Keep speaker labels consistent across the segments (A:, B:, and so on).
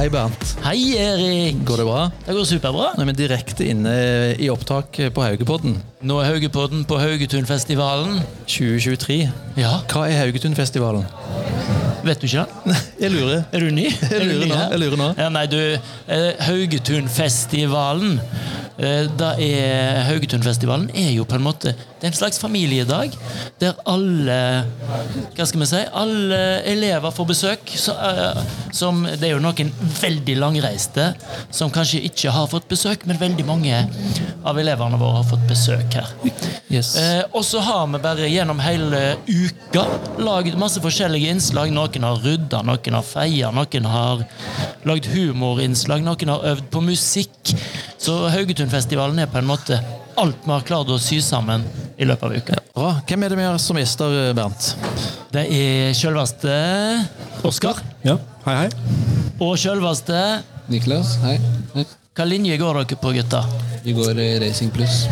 A: Hei, Bernt.
B: Hei, Erik.
A: Går det bra?
B: Det går superbra.
A: Nå er vi direkte inne i opptak på Haugepodden
B: Nå er Haugepodden på Haugetunfestivalen.
A: 2023.
B: Ja,
A: Hva er Haugetundfestivalen?
B: vet du ikke det?
A: Jeg lurer.
B: Er du ny?
A: Jeg
B: Er du
A: lurer
B: ny
A: nå,
B: her?
A: jeg lurer nå.
B: Ja, nei, du, eh, Haugetunfestivalen eh, da er Haugetunfestivalen er jo på en måte Det er en slags familiedag der alle Hva skal vi si? Alle elever får besøk. Så, eh, som, det er jo noen veldig langreiste som kanskje ikke har fått besøk, men veldig mange av elevene våre har fått besøk her.
A: Yes.
B: Eh, og så har vi bare gjennom hele uka lagd masse forskjellige innslag. Noen har rydda, noen har feia, noen har lagd humorinnslag, noen har øvd på musikk. Så Haugetundfestivalen er på en måte alt vi har klart å sy sammen i løpet av uka.
A: Bra. Hvem er det vi har som gjester, eh, Bernt?
B: Det er sjølveste Oskar.
C: Ja, hei hei.
B: Og sjølveste
D: Niklas, hei. Hei.
B: Hva linje går dere på, gutta?
D: Vi går eh, Racing Pluss.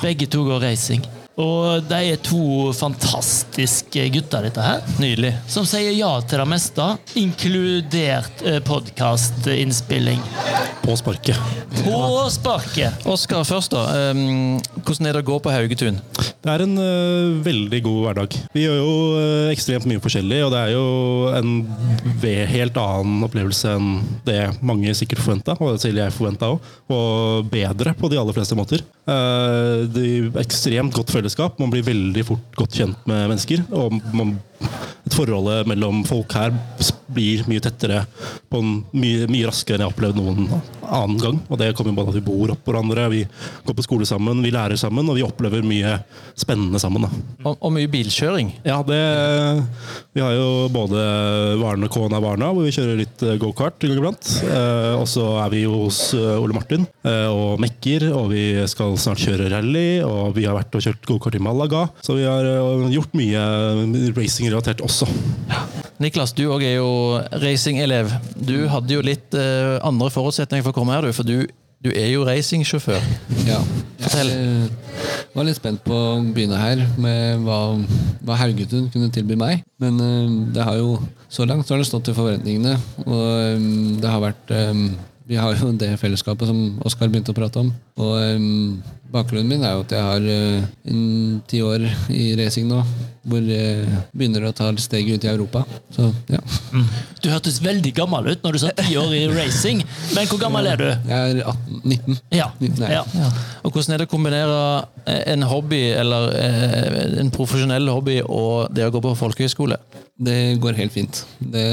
B: Begge to går racing. Og de er to fantastiske gutter, dette her.
A: Nydelig.
B: som sier ja til det meste, inkludert eh, podkastinnspilling.
C: På sparket.
B: På sparket!
A: Oskar først, da. Ehm, hvordan er det å gå på Haugetun?
C: Det er en ø, veldig god hverdag. Vi gjør jo ø, ekstremt mye forskjellig, og det er jo en ve- helt annen opplevelse enn det mange sikkert forventa, og det selv jeg forventa òg. Og bedre på de aller fleste måter. Eh, det er ekstremt godt fellesskap. Man blir veldig fort godt kjent med mennesker. og man et Forholdet mellom folk her blir mye tettere på en mye, mye raskere enn jeg har opplevd noen annen gang. Og det kommer jo både at vi bor oppå hverandre, vi går på skole sammen, vi lærer sammen, og vi opplever mye spennende sammen. da.
A: Og, og mye bilkjøring.
C: Ja, det Vi har jo både Varna Kona Varna, hvor vi kjører litt eh, gokart en gang iblant. Eh, og så er vi jo hos eh, Ole Martin eh, og mekker, og vi skal snart kjøre rally. Og vi har vært og kjørt gokart i Malaga, så vi har eh, gjort mye racing-relatert også.
A: Niklas, du òg er jo racingelev. Du hadde jo litt eh, andre forutsetninger for å komme her, du. For du, du er jo racingsjåfør.
D: Ja.
A: Fortell.
D: Jeg eh, var litt spent på å begynne her med hva, hva Haugetun kunne tilby meg. Men eh, det har jo så langt så har det stått til forventningene. Og eh, det har vært eh, Vi har jo det fellesskapet som Oskar begynte å prate om. Og eh, bakgrunnen min er jo at jeg har eh, en ti år i racing nå. Hvor jeg begynner å ta steget ut i Europa. Så ja.
B: Du hørtes veldig gammel ut når du sa ti år i racing, men hvor gammel er du?
D: Jeg er 18, 19.
B: Ja.
D: Nei.
B: ja.
A: Og hvordan er det å kombinere eh, en hobby, eller eh, en profesjonell hobby, og det å gå på folkehøyskole?
D: Det går helt fint. Det,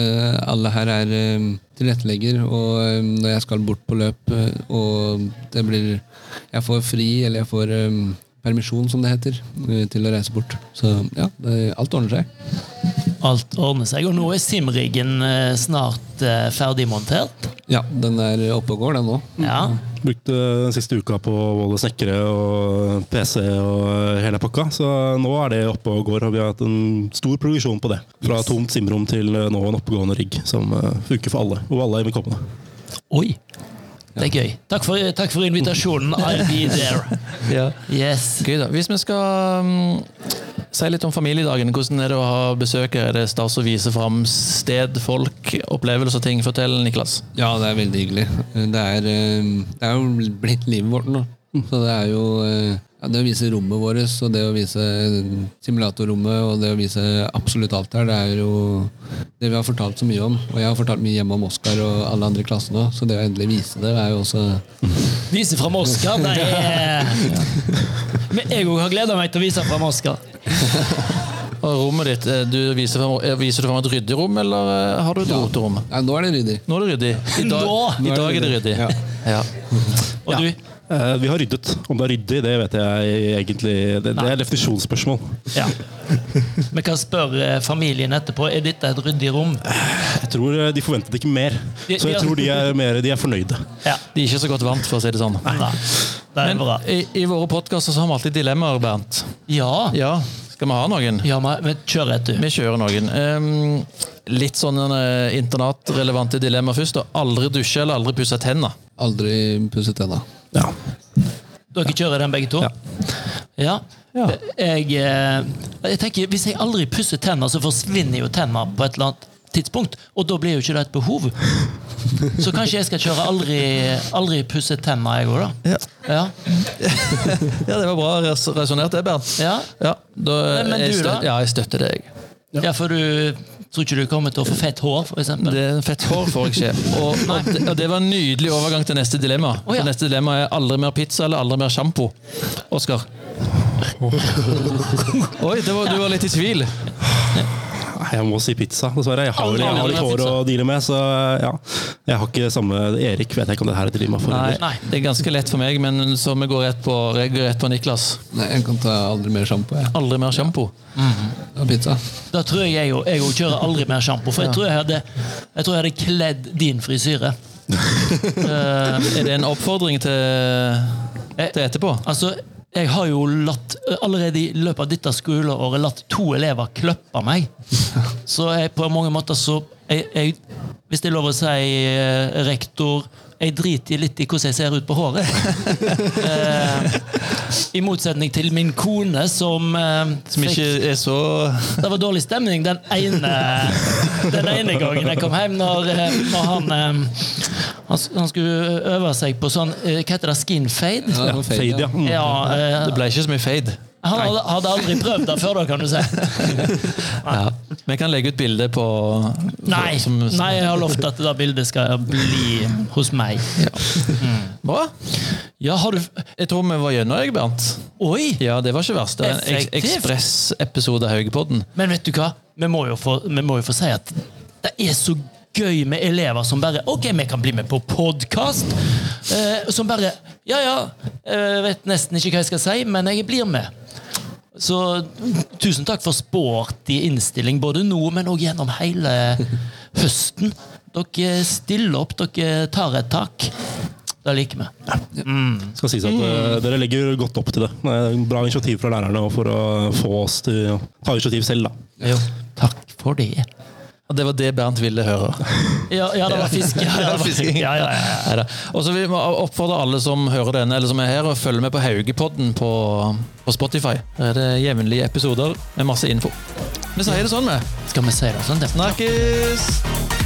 D: alle her er eh, tilrettelegger, og eh, når jeg skal bort på løp, eh, og det blir Jeg får fri, eller jeg får eh, permisjon, som det heter, eh, til å reise bort. Så ja, det, alt ordner seg.
B: Alt ordner seg. Og nå er simriggen eh, snart eh, ferdigmontert.
D: Ja, den er oppe og går, den nå.
B: Ja.
C: Brukte eh, den siste uka på både snekkere og PC og eh, hele pakka, så nå er det oppe og går. Og vi har hatt en stor progresjon på det. Fra tomt simrom til eh, nå en oppegående rigg som eh, funker for alle. Og alle er velkomne.
B: Oi. Det er gøy. Takk for, takk for invitasjonen. I'll be there.
A: Ja.
B: Yes.
A: Gøy da. Hvis vi skal mm, si litt om familiedagen, hvordan er det å ha besøk? her? Er det stas å vise fram sted, folk, opplevelser og ting? Fortell, Niklas.
D: Ja, det er veldig hyggelig. Det er, eh, det er jo blitt livet vårt nå. Så det er jo eh, ja, Det å vise rommet vårt, og det å vise simulatorrommet og det å vise absolutt alt her, det er jo det vi har fortalt så mye om. Og jeg har fortalt mye hjemme om Oskar og alle andre i klassen òg, så det å endelig vise det, er jo også
B: Vise fram Oscar, det er Men jeg òg har gleda meg til å vise fram Oscar.
A: Og rommet ditt, eh, du viser, fram, eh, viser du fram et ryddig rom, eller eh, har du et roterom?
D: Nei, nå er det ryddig.
A: Nå er det ryddig. I dag,
B: Nå!
A: I dag er det ryddig.
D: Ja.
A: Ja.
B: Og du?
C: Eh, Vi har ryddet. Om det er ryddig, det vet jeg egentlig Det, det er definisjonsspørsmål.
B: Ja. Vi kan spørre eh, familien etterpå er dette et ryddig rom.
C: Jeg tror eh, de forventet ikke mer,
B: Ja,
C: så
B: ja.
C: jeg tror de er, mer, de er fornøyde.
B: Ja.
A: De er ikke så godt vant, for å si det sånn.
B: Nei, det er
A: Men
B: bra.
A: i, i våre podkaster har vi alltid dilemmaer, Bernt.
B: Ja,
A: Ja, skal vi ha noen?
B: ja men men kjør et, du.
A: Vi kjører noen. Ehm, litt sånne eh, internatrelevante dilemmaer først. Da. Aldri dusje eller aldri pusse tenner.
D: Aldri pusset tenna.
C: Ja.
B: Dere kjører den begge to? Ja.
A: Ja.
B: Jeg, eh, jeg tenker, Hvis jeg aldri pusser tenner, så forsvinner jo tenner på et eller annet tidspunkt, og da blir jo ikke det et behov. Så kanskje jeg skal kjøre aldri, aldri pusse tenna, jeg òg, da.
A: Ja.
B: Ja.
A: ja, det var bra res resonnert, det, Bernt.
B: Ja.
A: Ja, da,
B: Men- men
A: jeg
B: du da?
A: støt- Ja, jeg støtter deg.
B: ja, for du tror ikke du kommer til å få fett hår, for eksempel?
A: Det er fett hår får jeg ikke. Og, og, det, og det var en nydelig overgang til neste dilemma.
B: Å, ja.
A: For neste dilemma er aldri mer pizza eller aldri mer sjampo. Oskar. Oi, det var, du var litt i tvil.
C: Nei, Jeg må si pizza, dessverre. Jeg har,
B: Aldri,
C: jeg har
B: aldri
C: litt hår
B: pizza.
C: å deale med, så ja. Jeg har ikke samme Erik vet jeg ikke om det her er dilemma for.
A: Nei,
C: eller?
B: Nei.
A: det er ganske lett for meg, men så vi går rett på, jeg går rett på Niklas.
D: Nei, jeg kan ta aldri mer sjampo. jeg.
A: Aldri mer sjampo.
D: Og pizza.
B: Da tror jeg jeg, jo- jeg jo kjører aldri mer sjampo, for jeg tror jeg hadde, jeg tror jeg hadde kledd din frisyre. Eh,
A: Er det en oppfordring til,
B: jeg,
A: til etterpå?
B: altså, jeg har jo latt, eh, allerede i løpet av dette skoleåret latt to elever kløppe meg. Så jeg, på mange måter så jeg, jeg, Hvis det er lov å si, eh, rektor Jeg driter litt i hvordan jeg ser ut på håret. Eh, I motsetning til min kone, som, eh,
A: Som
B: fikk-
A: ikke er så
B: det var dårlig stemning den ene, den ene gangen jeg kom hjem, når, eh, når han, eh, han s- Han skulle øve seg på sånn eh, Hva heter det? Skin fade?
D: Ja, det var
C: Fade, ja. Mm.
B: Ja, eh,
A: Det ble ikke så mye fade.
B: han hadde, hadde aldri prøvd det før, da, kan du si.
A: Ja. Vi kan legge ut bilde på
B: Nei,
A: som-
B: nei jeg har lovt at det der bildet skal bli hos meg.
A: Bra.
B: Ja, har du
A: Jeg tror vi var gjennom, jeg, Bernt.
B: Oi!
A: Ja, det var ikke verst. Det er en eks-
B: Effektivt.
A: ekspressepisode av Haugepodden.
B: Men vet du hva? Vi må, jo få, vi må jo få si at det er så gøy med elever som bare Ok, vi kan bli med på podkast. Eh, som bare Ja, ja, jeg vet nesten ikke hva jeg skal si, men jeg blir med. Så tusen takk for sporty innstilling, både nå, men òg gjennom hele høsten. Dere stiller opp, dere tar et tak. Det liker vi.
C: Skal sies at eh, dere legger godt opp til det. Det er en Bra initiativ fra lærerne og for å få oss til å ta initiativ selv, da.
B: Jo, takk for det.
A: Og det var det Bernt ville høre.
B: Ja, ja det var fisk. Ja, det var, ja, ja, ja.
A: Neida. Og så vil vi oppfordre alle som hører denne, eller som er her, å følge med på Haugepodden på, på Spotify. Der er det jevnlige episoder med masse info. Vi sier det sånn, vi.
B: Skal vi si det sånn? Det
A: Snakkes!